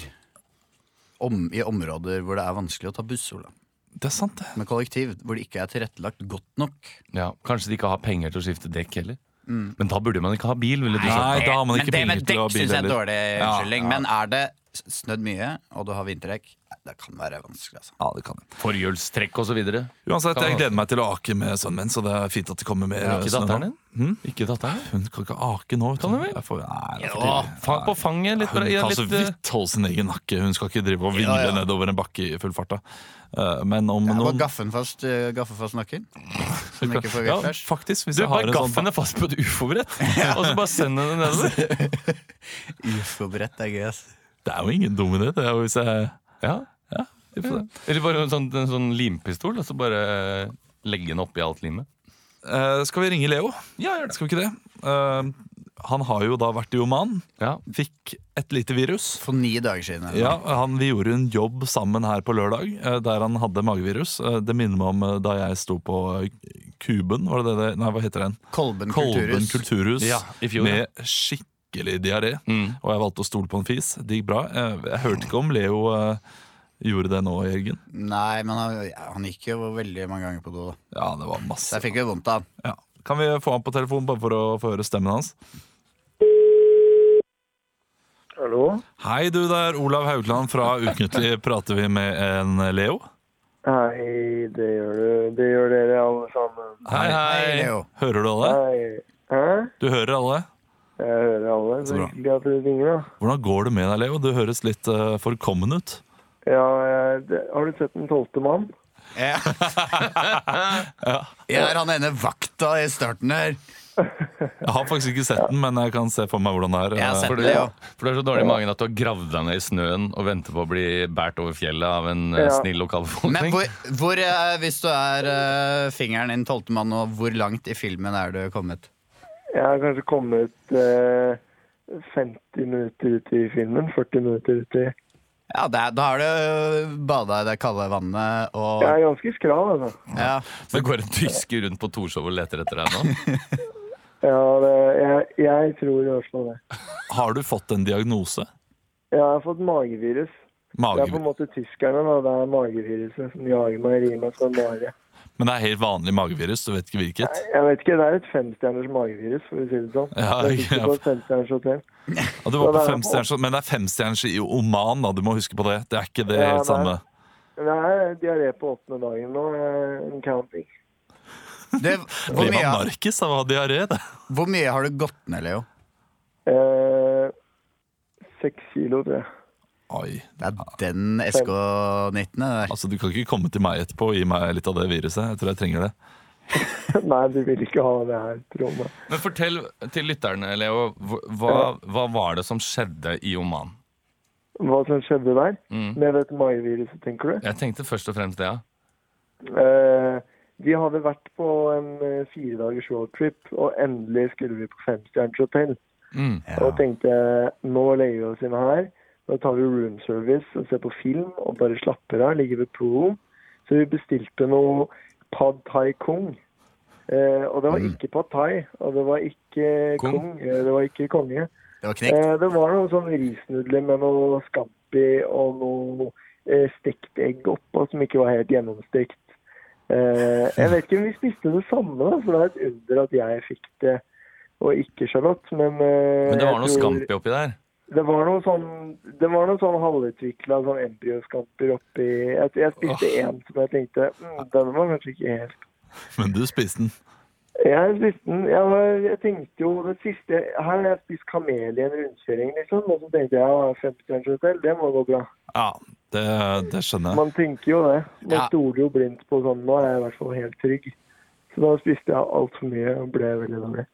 om, i områder hvor det er vanskelig å ta buss, Ola. Det er sant, det. Med kollektiv, hvor det ikke er tilrettelagt godt nok. Ja, Kanskje de ikke har penger til å skifte dekk heller. Men da burde man ikke ha bil. ville du Nei, sagt. da har man ikke men penger til å det med dekk ha bil syns jeg er heller. dårlig Ja, unnskyldning. Men er det s- snødd mye, og du har vinterdekk, det kan være vanskelig, altså. Ja, det kan jeg. Forhjulstrekk osv. Uansett, Kan jeg man- gleder meg til å ake med sønnen min, så det er fint at det kommer mer Ikke snø nå. Hm? datteren din? Ikke datteren din? Hun kan ikke ake nå. Kan hun Sånn, vel? Jeg får, nei, det er for Ja, tidlig. fa på fanget. Litt, Hun bra- kan så litt, eh, vidt holde sin egen nakke. Hun skal ikke drive og vingle Ja, ja. nedover en bakke i full fart. da. Eh, Men om Jeg var noen gaffen fast, eh, gaffen fast nakken. Som ikke får ja, vilt først. faktisk, hvis du, jeg har bare en gaff sånn henne fast på et ufoberedt, [laughs] og så bare send henne Altså, nedover. Uforberedt er gøy, ass. Det er jo ingen dum idé. det er jo Hvis jeg Ja. vi får det. Eller bare en sånn, en sånn limpistol, og så bare eh, legge den oppi alt limet. Eh, Skal vi ringe Leo? Ja, gjør Skal vi ikke det? Eh, Han har jo da vært i Oman. Ja. Fikk et lite virus. For ni dager siden. eller Ja, han, Vi gjorde en jobb sammen her på lørdag, eh, der han hadde magevirus. Eh, Det minner meg om eh, da jeg sto på eh, Kuben, var det det? det- Nei, hva heter den? noe. Kolben Kolben kulturhus. kulturhus Ja, i fjor, ja. Mm. med skikkelig diaré. Og jeg valgte å stole på en fis. Det gikk bra. Jeg, jeg hørte ikke om Leo eh, gjorde det nå, Jørgen. Nei, men han, ja, han gikk jo veldig mange ganger på do, da. Ja, det var Så masse. jeg fikk jo vondt av han. Ja. Kan vi få han på telefon bare for å få høre stemmen hans? Hallo? Hei, du der. Olav Haugland fra Uknyttelig prater vi med en Leo. Hei, det gjør du. Det gjør dere alle sammen. Hei, Hei, Leo. Hører du alle? Hei. Hæ? Du hører alle. Jeg hører alle. Så bra. hyggelig at dere ringer, da. Hvordan går det med deg, Leo? Du høres litt eh, forkommen ut. Ja, jeg, det- har du sett Den tolvte mann? [laughs] Ja. Jeg er han ene vakta i starten her. Jeg har faktisk ikke sett den, men jeg kan se for meg hvordan det er. Jeg har Eh, sett For det, du, Leo. for du har så dårlig i magen at du har gravd deg ned i snøen og venter på å bli båret over fjellet av en eh, Ja. snill Men lokalbefolkning. hvor, hvor eh, hvis du er eh, fingeren din tolvte mann, og hvor langt i filmen er du kommet? Jeg har kanskje kommet eh, 50 minutter ut i filmen. 40 minutter ut i Ja, det er, Da har du bada i det kalde vannet og Jeg er ganske skral, altså. ja. Så det går en tysker rundt på Torshov og leter etter deg nå. Ja, det, jeg, jeg tror i hvert fall det. Har du fått en diagnose? Jeg har fått magevirus. Det er på en Mage... måte tyskerne, da. Det er mageviruset som jager meg, rir meg som en mare. Men det er helt vanlig magevirus, du vet ikke hvilket? Jeg vet ikke, det er et femstjerners magevirus, for å si det sånn. Ja, jeg sitter ja. på et femstjerners hotell. Ja, du var på det er- femstjerners, men det er femstjerners i Oman, da. Du må huske på det. Det er ikke det Ja, helt samme. Det er diaré på åttende dagen nå, eh, en counting. du, hvor, Blir man mye, narkis av å ha diaré? det? hvor mye har du gått ned, Leo? Eh, Seks kilo, tror jeg. [laughs] Oi. Det er den SK19. det der. Altså, du kan ikke komme til meg etterpå og gi meg litt av det viruset. Jeg tror jeg trenger det. Nei, du vil ikke ha det her, Trond. Men fortell til lytterne, Leo, hva, hva- hva var det som skjedde i Oman? Hva som skjedde der? Mm. Med dette mageviruset, tenker du? Jeg tenkte først og fremst det, ja. Eh, vi hadde vært på en eh, fire dagers roadtrip, og endelig skulle vi på femstjerners hotell. Mm. Og tenkte nå legger vi oss inn her. Nå tar vi room service og ser på film og bare slapper av. Ligger ved poolen. Så vi bestilte noe pad thai kung. Eh, og det var ikke pad thai, og det var ikke Kung? kung. eh, Det var ikke konge. Det var knekt. Eh, det var noen sånne risnudler med noe scampi og noe eh, stekt egg oppå som ikke var helt gjennomstekt. Eh, jeg vet ikke om vi spiste det samme, da, så det er et under at jeg fikk det og ikke Charlotte. Men, eh, Men det var jeg noe tror- scampi oppi der. det var noen sånn, det var noen sånn halvutvikla sånn embryoskamper oppi Jeg, jeg spiste én som jeg tenkte mm, Den var kanskje ikke helt Men du spiste den. Jeg spiste den Jeg, var, jeg tenkte jo det siste Her har jeg spist kamel i en rundkjøring, liksom. Og så tenkte jeg ja, 50 hotell, det må gå bra. Ja, det, det skjønner jeg. Man tenker jo det. Man Ja. stoler jo blindt på sånn. Nå er jeg i hvert fall helt trygg. Så da spiste jeg altfor mye og ble veldig dårlig.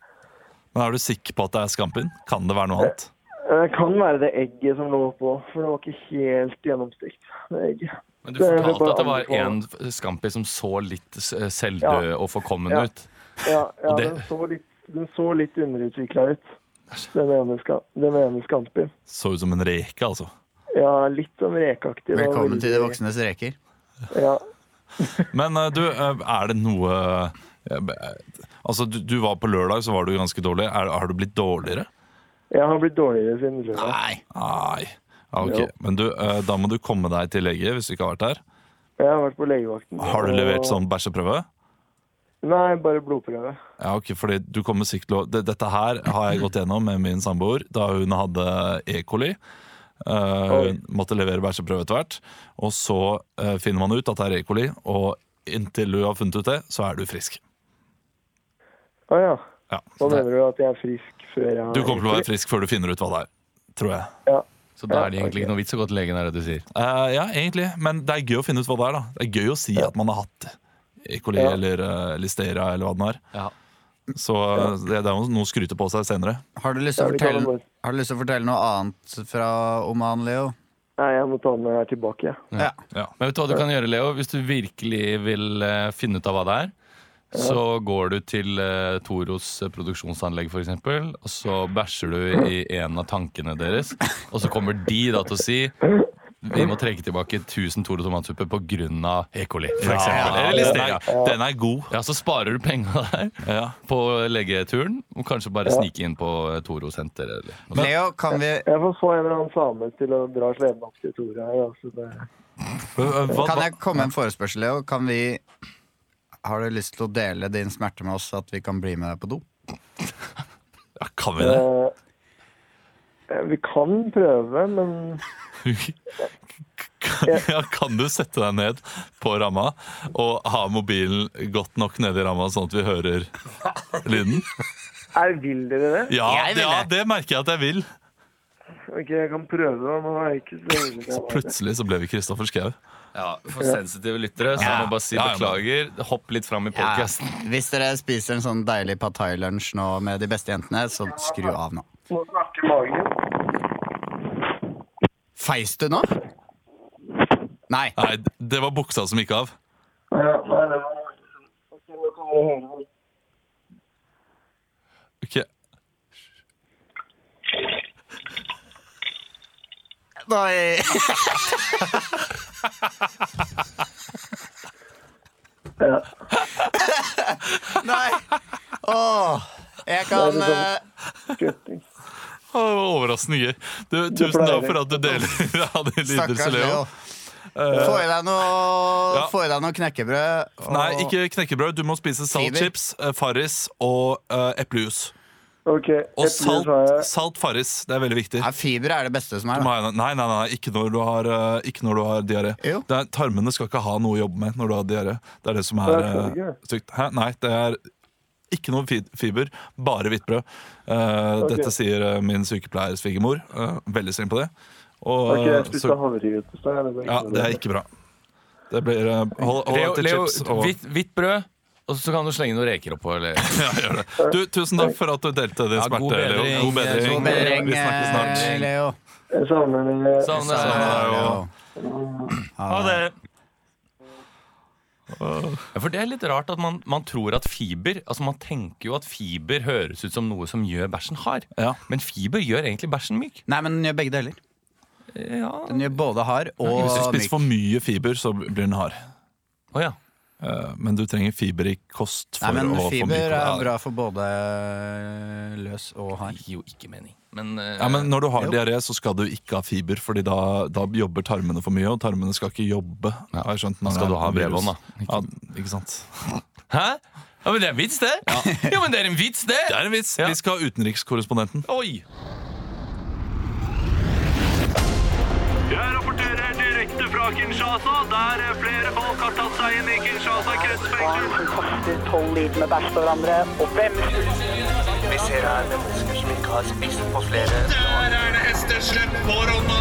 Men er du sikker på at det er skampin? Kan det være noe annet? Det kan være det egget som lå oppå, for det var ikke helt gjennomstekt. det egget. Men du Det er det fortalte at bare det var en anbefalt. scampi som så litt s- selvdød og forkommen Ja. ut. Ja, ja Og det- den, så litt, den så litt underutvikla ut. Den ene, ska, den ene skampen. Så ut som en reke, altså. Ja, litt sånn rekeaktig. Det var Velkommen til de veldig- voksnes reker. Ja. Men eh, du, eh, er det noe eh, eh, Altså, du, du var på lørdag, så var du ganske dårlig. Er, har du blitt dårligere? Jeg har blitt dårligere siden lørdag. Nei. Nei. Ja, ok. Jo. Men du, eh, da må du komme deg til lege hvis du ikke har vært der. Jeg har vært på legevakten. Har du og- levert sånn bæsjeprøve? Nei, bare blodprøve. Ja, ok, fordi du kommer sikkert til å det- Dette her har jeg gått gjennom med min samboer da hun hadde E. coli. Eh, hun måtte levere bæsjeprøve etter hvert. Og så eh, finner man ut at det er E. coli, og inntil du har funnet ut det, så er du frisk. Å ja. Ja. Hva mener du? At jeg Sånn er frisk før jeg har Du kommer til å være frisk før du finner ut hva det er. Tror jeg. Så da er det egentlig ikke noe vits å gå til legen, er det du sier. Eh, ja, egentlig. Men det er gøy å finne ut hva det er. da Det er gøy å si at man har hatt E. coli Ja. eller uh, listeria eller hva den er. Ja. Så eh, det det er jo noe å skryte på seg senere. Har du lyst til å Ja, vi kan fortelle, vel bare- har du lyst til å fortelle noe annet fra Oman, Leo? Nei, jeg må ta den med her tilbake. jeg. Ja. Men vet du hva du kan gjøre, Leo? Hvis du virkelig vil eh, finne ut av hva det er, så går du til eh, Toros produksjonsanlegg for eksempel, og så bæsjer du i en av tankene deres, og så kommer de da til å si vi må trekke tilbake 1000 Toro tomatsupper på grunn av E. coli, for eksempel. Eller den, listeria. er, den er god. Ja, så sparer du penga der Ja. på legeturen, og kanskje bare snike inn på eh, Toro senter eller noe sånt. Leo, kan vi, Jeg får få en eller annen same til å dra sleden opp til Tore her. Altså det. Hva, hva, kan jeg komme med en forespørsel, Leo? Kan vi Har du lyst til å dele din smerte med oss, at vi kan bli med deg på do? ja, kan vi det? Eh, Eh, Vi kan prøve, men Kan, [laughs] ja, kan du sette deg ned på ramma og ha mobilen godt nok nede i ramma, sånn at vi hører lyden? er, vil dere det? Ja, Jeg vil ja, det. det merker jeg at jeg vil. Ok, jeg kan prøve, da, men jeg er ikke så ille. Så plutselig så ble vi Kristoffer Schou. Ja, For sensitive lyttere så må jeg bare si Ja, ja. beklager. Hopp litt fram i Ja, podkasten. hvis dere spiser en sånn deilig pad thai-lunsj nå med de beste jentene, så skru av nå. Nå snakker magen. Feis du nå? Nei. Nei, det var buksa som gikk av. Ja, nei, det var Ok, nå kan dere høre meg. Ok, Nei. [laughs] Nei. Åh. Jeg kan eh, Skutting. Å, Det var overraskende gøy. Du, tusen pleier takk for at du [laughs] deler [laughs] av dine lidelser, Stakkars Leo. Eh, Leo. Få i deg noe, ja. få i deg noe knekkebrød. og- Nei, ikke knekkebrød. Du må spise saltchips, eh, farris og eh, eplejus. Ok, Og eplejus salt, har jeg. salt farris. Det er veldig viktig. Ja, fiber er det beste som er. Du Da. må ha- Nei, nei, nei, ikke når du har, eh, ikke når du har diaré. Jo. Det er- Tarmene skal ikke ha noe å jobbe med når du har diaré. Det er det som er Det er eh, stygt. Hæ? Nei, det er ikke noe fi- fiber, bare hvitt brød. Eh, Ok. Dette sier eh, min sykepleier svigermor. Eh, veldig streng på det. Og, Ok, jeg eh, spiste så- havregrøt i stad. Ja, det er ikke bra. Det blir eh, Hold, hold Leo, deg til Leo chips. Og, hvitt, hvitt brød, og så kan du slenge noen reker oppå. [laughs] Eller. ja, gjør det. Du, tusen takk for at du delte din Ja, smerte, god Leo. bedring, God bedring. god Bedring, Vi snakkes snart. eh, Leo. Jeg savner dere. Sånn, det Sånn er- er det jo. Leo. Ha det. Ja, for Det er litt rart at man, man tror at fiber Altså Man tenker jo at fiber høres ut som noe som gjør bæsjen hard. Ja. Men fiber gjør egentlig bæsjen myk. Nei, men den gjør begge deler. Ja. Den gjør både hard Hvis du og spiser myk. for mye fiber, så blir den hard. Å ja. Eh, Men du trenger fiber i kost for Nei, men å få mye fiber er protein. bra for både eh, løs og hard. Gir jo ikke mening. Men, eh, Ja, men når du har Jo. diaré, så skal du ikke ha fiber, Fordi da, da jobber tarmene for mye, og tarmene skal ikke jobbe. Har jeg skjønt, når Skal det er du ha virus. bredbånd, da? Ja, ikke sant. Hæ? Ja, men det er en vits, det! Ja, men det er en vits, det! Det er en vits! Ja. Vi skal ha utenrikskorrespondenten. Oi! Jeg rapporterer direkte fra Kinshasa, der flere folk har tatt seg inn i Kinshasa kretsfengsel. Barn som kaster tolv liter med bæsj på hverandre. Og hvem Vi ser her mennesker som ikke har spist på flere Der er det hesteslepp på Rondane.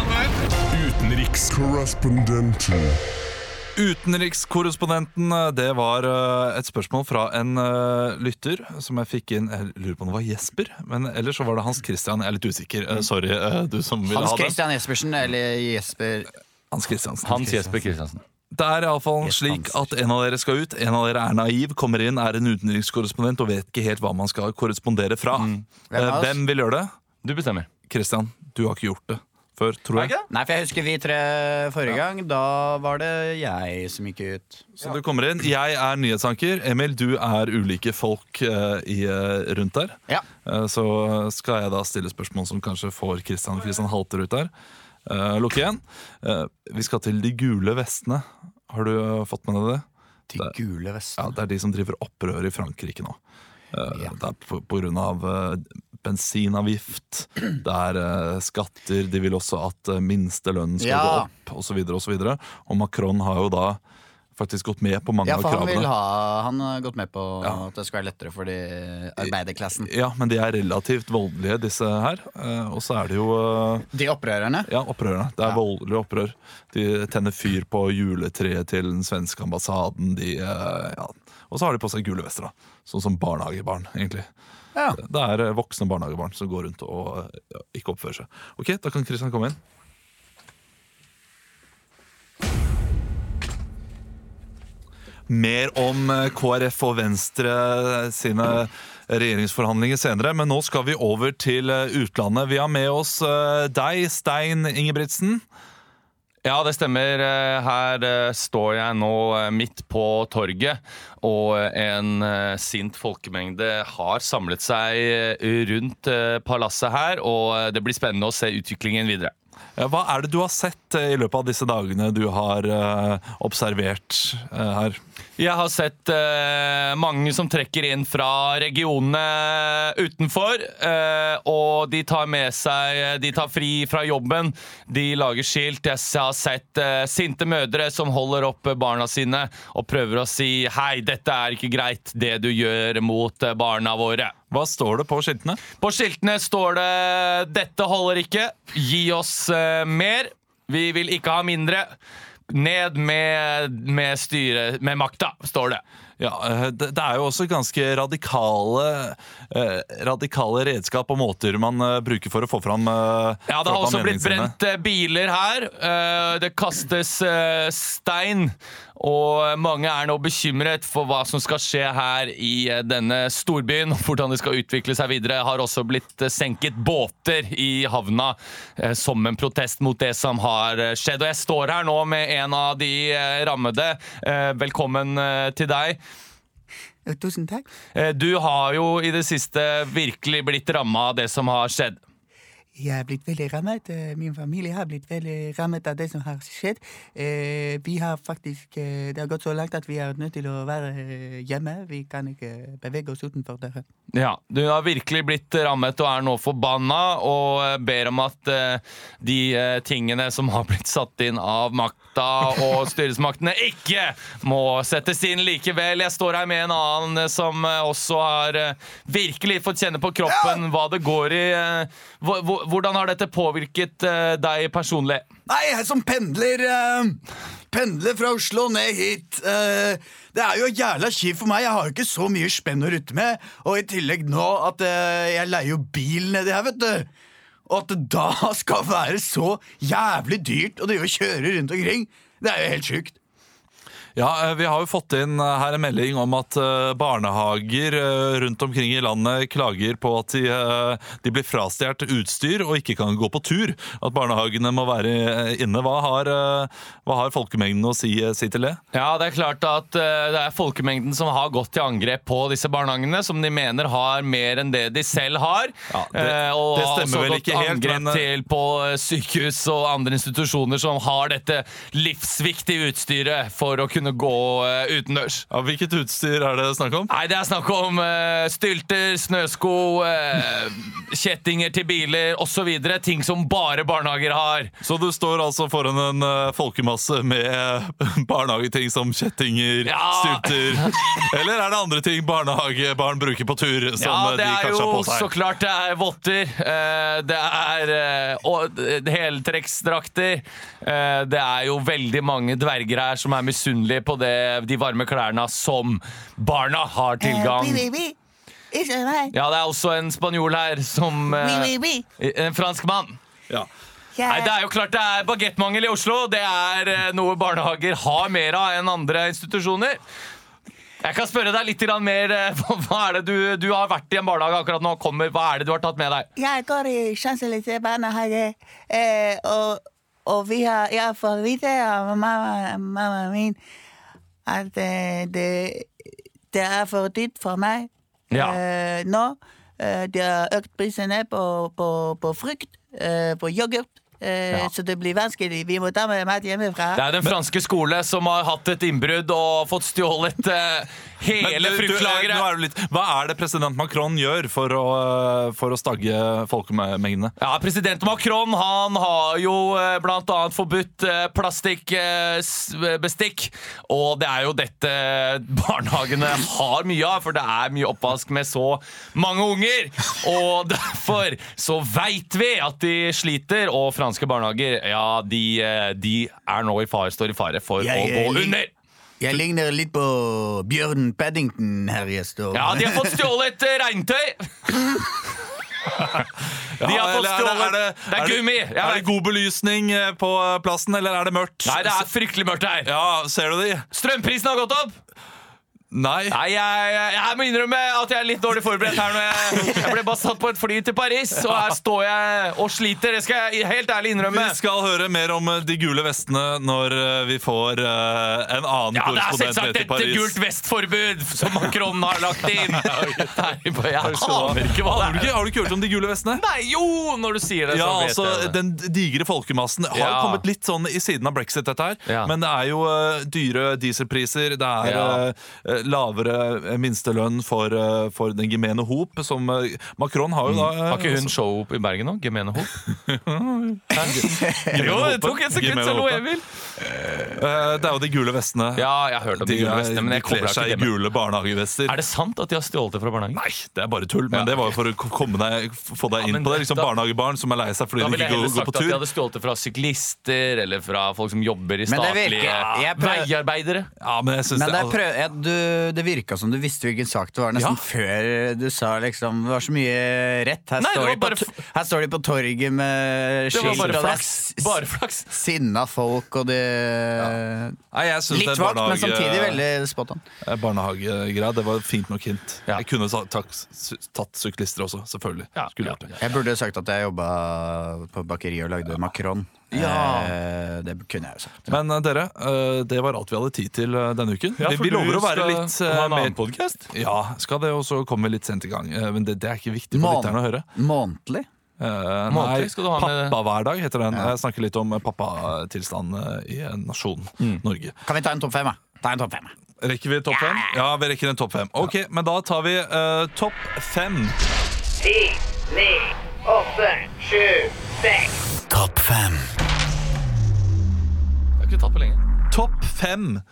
Utenrikskorrespondenten, det var eh, et spørsmål fra en eh, lytter som jeg fikk inn. Jeg lurer på om det var Jesper, men ellers så var det Hans Christian. Jeg er litt usikker. Eh, Sorry, eh, du som ville Hans ha det. Christian Jespersen, eller Jesper Hans Christiansen. Hans Jesper Kristiansen. Det er iallfall Yes, slik Hans. at en av dere skal ut, en av dere er naiv, kommer inn, er en utenrikskorrespondent og vet ikke helt hva man skal korrespondere fra. Hvem Eh, av oss? Hvem vil gjøre det? Du bestemmer. Christian, du har ikke gjort det før, tror jeg. Nei, for jeg husker vi tre forrige gang. Da var det jeg som gikk ut. Så du kommer inn. Jeg er nyhetsanker. Emil, du er ulike folk eh, i, eh, rundt der. Ja. Eh, Så skal jeg da stille spørsmål som kanskje får Kristian Kristian halter ut der. Eh, Lukk igjen. Eh, Vi skal til de gule vestene. Har du eh, fått med deg det? De gule vestene. Ja, Det er de som driver opprør i Frankrike nå. Eh, Ja. Det er på, på grunn av eh, bensinavgift, det er eh, skatter, de vil også at eh, minstelønnen skal Ja. gå opp, osv. Og, så videre, og, så videre. og Macron har jo da faktisk gått med på mange Ja, av for han, kravene. vil ha, han har gått med på Ja. Eh, at det skal være lettere for de arbeiderklassen. Ja, men de er relativt voldelige, disse her. Eh, og så er det jo eh, De opprørerne. ja, opprørerne. Det er voldelig opprør. De tenner fyr på juletreet til den svenske ambassaden. De, eh, ja. Og så har de på seg gule vester, da. Sånn som barnehagebarn, egentlig. Ja. Det er eh, voksne barnehagebarn som går rundt og eh, ja, ikke oppfører seg. Ok, da kan Christian komme inn. Mer om eh, KrF og Venstre eh, sine regjeringsforhandlinger senere, men nå skal vi over til eh, utlandet. Vi har med oss eh, deg, Stein Ingebrigtsen. Ja, det stemmer. Eh, Her eh, står jeg nå eh, midt på torget, og en eh, sint folkemengde har samlet seg eh, rundt eh, palasset her, og eh, det blir spennende å se utviklingen videre. Eh, Hva er det du har sett eh, i løpet av disse dagene du har eh, observert eh, her? Jeg har sett eh, mange som trekker inn fra regionene utenfor. eh, og de tar med seg De tar fri fra jobben, de lager skilt. Jeg s- har sett eh, sinte mødre som holder opp barna sine og prøver å si 'Hei, dette er ikke greit, det du gjør mot eh, barna våre'. Hva står det på skiltene? På skiltene står det 'Dette holder ikke. Gi oss eh, mer. Vi vil ikke ha mindre'. Ned med, med styret Med makta, står det. Ja, eh, det, det er jo også ganske radikale, eh, radikale redskap og måter man eh, bruker for å få fram eh, Ja, det få fram har også blitt meningene sine. brent eh, biler her. Eh, Det kastes eh, stein. Og mange er nå bekymret for hva som skal skje her i eh, denne storbyen. og Hvordan det skal utvikle seg videre. Har også blitt eh, senket båter i havna eh, som en protest mot det som har eh, skjedd. Og jeg står her nå med en av de eh, rammede. Eh, Velkommen eh, til deg. Tusen takk. Eh, Du har jo i det siste virkelig blitt ramma av det som har skjedd. Jeg er blitt veldig rammet. eh, Min familie har blitt veldig rammet av det som har skjedd. Eh, Vi har faktisk eh, Det har gått så langt at vi er nødt til å være eh, hjemme. Vi kan ikke bevege oss utenfor døren. Ja, du har virkelig blitt rammet og er nå forbanna og eh, ber om at eh, de eh, tingene som har blitt satt inn av makta og styresmaktene, ikke må settes inn likevel. Jeg står her med en annen eh, som eh, også har eh, virkelig fått kjenne på kroppen hva det går i. eh, hvor- hvor- Hvordan har dette påvirket eh, deg personlig? Nei, jeg som pendler eh, Pendler fra Oslo ned hit eh, Det er jo jævla kjipt for meg Jeg har jo ikke så mye spenn å rutte med Og i tillegg nå at eh, jeg leier jo bil nedi her, vet du Og at det da [laughs] skal være så jævlig dyrt Og det å kjøre rundt omkring Det er jo helt sjukt Ja, eh, Vi har jo fått inn eh, her en melding om at eh, barnehager eh, rundt omkring i landet klager på at de, eh, de blir frastjålet utstyr og ikke kan gå på tur. At barnehagene må være eh, inne. Hva har, eh, hva har folkemengden å si, eh, si til det? Ja, det er klart at eh, det er folkemengden som har gått til angrep på disse barnehagene, som de mener har mer enn det de selv har. det- Eh, og det har stemmer også vel gått ikke helt, angrep men, eh, til på eh, sykehus og andre institusjoner som har dette livsviktige utstyret for å kunne gå eh, utendørs. Ja, hvilket utstyr er det snakk om? Nei, Det er snakk om eh, stylter, snøsko, eh, kjettinger til biler osv. Ting som bare barnehager har. Så du står altså foran en eh, folkemasse med [laughs] eh, barnehageting som kjettinger, stylter Eller er det andre ting barnehagebarn bruker på tur? Som eh, de det er kanskje har jo på seg? så klart det er votter. eh, Det er eh, og d- heltrekksdrakter. eh, Det er jo veldig mange dverger her som er misunnelige på det, de varme klærne som barna har Eh, oui, tilgang. oui, oui. Ikke meg. Ja, det er også en spanjol her som Oui, eh, oui, En fransk mann. Jeg- Nei, Det er jo klart det er bagettmangel i Oslo. Det er eh, noe barnehager har mer av enn andre institusjoner. Jeg kan spørre deg litt grann mer. eh, [laughs] Hva hva er det du, du har vært i en barnehage akkurat nå. Kommer, hva er det du har tatt med deg? Jeg går i Champs-Élysées barnehage, eh, og, og vi har, jeg får vite av mamma, mamma min at eh, det, det er for dyrt for meg Ja. eh, nå. Eh, de har økt prisene på, på, på frukt, eh, på yoghurt, eh, Ja. så det blir vanskelig. Vi må ta med mat hjemmefra. Det er den franske skole som har hatt et innbrudd og fått stjålet eh, Men hele du- du, eh, nå fruktlageret. er det litt, hva er det president Macron gjør for å, eh, for å stagge folkemengdene? Ja, President Macron han har jo eh, blant annet forbudt eh, plastikkbestikk. eh, Og det er jo dette eh, [laughs] barnehagene har mye av, for det er mye oppvask med så mange unger. Og [laughs] derfor så veit vi at de sliter, og franske barnehager ja, de, eh, de er nå i fare, står i fare for Jeg, å eh, gå under. Jeg ligner litt på Bjørn Paddington her jeg står Ja, de har fått stjålet eh, regntøy! [laughs] De har fått eller stjålet er det, er Det er gummi! Er Jeg det vet. god belysning eh, på plassen, eller er det mørkt? Nei, det er fryktelig mørkt her. Ja, ser du de? Strømprisen har gått opp! Nei. Nei, jeg, jeg, jeg må innrømme at jeg er litt dårlig forberedt her. Når jeg, jeg ble bare satt på et fly til Paris, og her står jeg og sliter. Det skal jeg helt ærlig innrømme. Vi skal høre mer om eh, de gule vestene når eh, vi får eh, en annen Ja, det er korrespondent selvsagt ned til dette Paris. gult vest-forbud som Macron har lagt [laughs] inn. Nei, bare- jeg aner ikke hva Har du det ikke, er. har du ikke hørt om de gule vestene? Nei, jo, når du sier det, Ja, så vet altså, jeg det. Den digre folkemassen har Ja. kommet litt sånn i siden av brexit, dette her. Ja. Men det er jo eh, dyre dieselpriser, det er Ja. eh, lavere minstelønn for, eh, for den gemene hop, som eh, Macron har jo da eh, Mm. Har ikke hun også- show i Bergen nå? Gemene [laughs] Hop? Gemene Jo, Hopet. det tok et sekund, Gemene så lo Hopet. Emil. Eh, Det er jo de gule vestene. Ja, jeg har hørt om de gule er- vestene, men jeg de kler kobler ikke seg i det med- gule barnehagevester. Er det sant at de har stjålet det fra barnehagen? Nei, det er bare tull, men det var jo for å komme deg, få deg inn men på det. Liksom da- Barnehagebarn som er lei seg fordi Da de ikke ville jeg heller går, går sagt på at de tur. hadde stjålet det fra syklister eller fra folk som jobber i Men det statlige virker- jeg prøver- veiarbeidere. Ja, men jeg synes Men det, det, er prøv, ja, du, det virka som du visste hvilken sak det var, nesten før du sa liksom Det var så mye rett. Her, Nei, det står, de var på, bare to- her står de på torget med Det var skilt, bare og det er flaks. s- Bare flaks. sinna folk, og det Nei, jeg synes Litt den vagt, men barnehage- samtidig veldig spot on. Eh, Barnehagegreia, det var fint nok hint. Jeg kunne sa- tak- sy- tatt syklister også, selvfølgelig. Skulle gjort det. Jeg burde sagt at jeg jobba på bakeri og lagde makron. Ja. Eh, det kunne jeg jo sagt. Men eh, dere, eh, det var alt vi hadde tid til eh, denne uken. Ja, vi, for vi du lover å være skal litt ha eh, en annen podcast? Ja, skal det, og så kommer vi litt sent i gang. Eh, men det, det er ikke viktig for Mån- lytterne å høre. Månedlig? Eh, Månedlig nei, skal du ha med- pappahverdag heter den. Jeg snakker litt om eh, pappatilstanden eh, i en nasjon, Mm. Norge. Kan vi ta en topp fem, da? Ta en topp fem. da. Rekker vi topp fem? Ja, vi rekker en topp fem. Ok, men da tar vi eh, topp fem. Ti, ni, åtte, sju, seks. Topp fem. Jeg har ikke tatt på lenge. Topp fem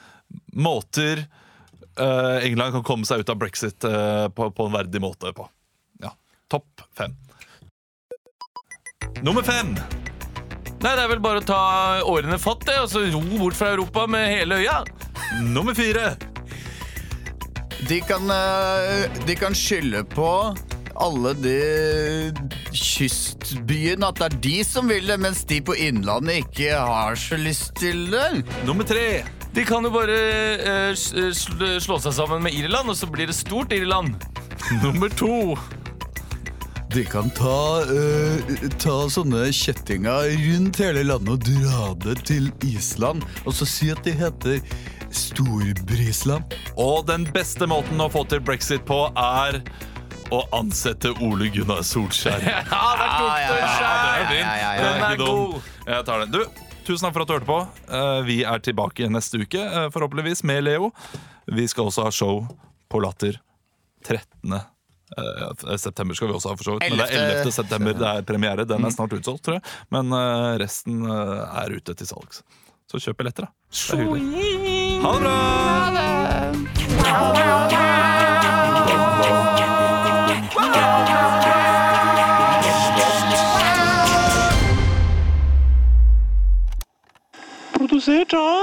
måter eh, England kan komme seg ut av brexit eh, på, på en verdig måte på. Ja, topp fem. Nummer fem. Nei, det er vel bare å ta årene fatt, det, og så ro bort fra Europa med hele øya. Nummer fire. De kan, eh, de kan skylde på alle de kystbyene, at det er de som vil det, mens de på Innlandet ikke har så lyst til det. Nummer tre. De kan jo bare eh, s- eh, sl- slå seg sammen med Irland, og så blir det stort Irland. Nummer to. De kan ta, eh, ta sånne kjettinger rundt hele landet og dra det til Island, og så si at de heter Storbrisland. Og den beste måten å få til brexit på er å ansette Ole Gunnar Solskjær. Ja, der tok ja, du en ja, Ja, skjær! det er din. ja, ja, ja. Den er Den er ikke dum. Jeg tar den. Du, tusen takk for at du hørte på. Eh, Vi er tilbake igjen neste uke, eh, forhåpentligvis, med Leo. Vi skal også ha show på Latter 13. eh, september skal vi også ha, for så vidt. Men det er 11. september det er premiere. Den er snart utsolgt, tror jeg. Men eh, resten eh, er ute til salgs. Så kjøp billetter, da. Det er hyggelig. Ha det bra! Produsert av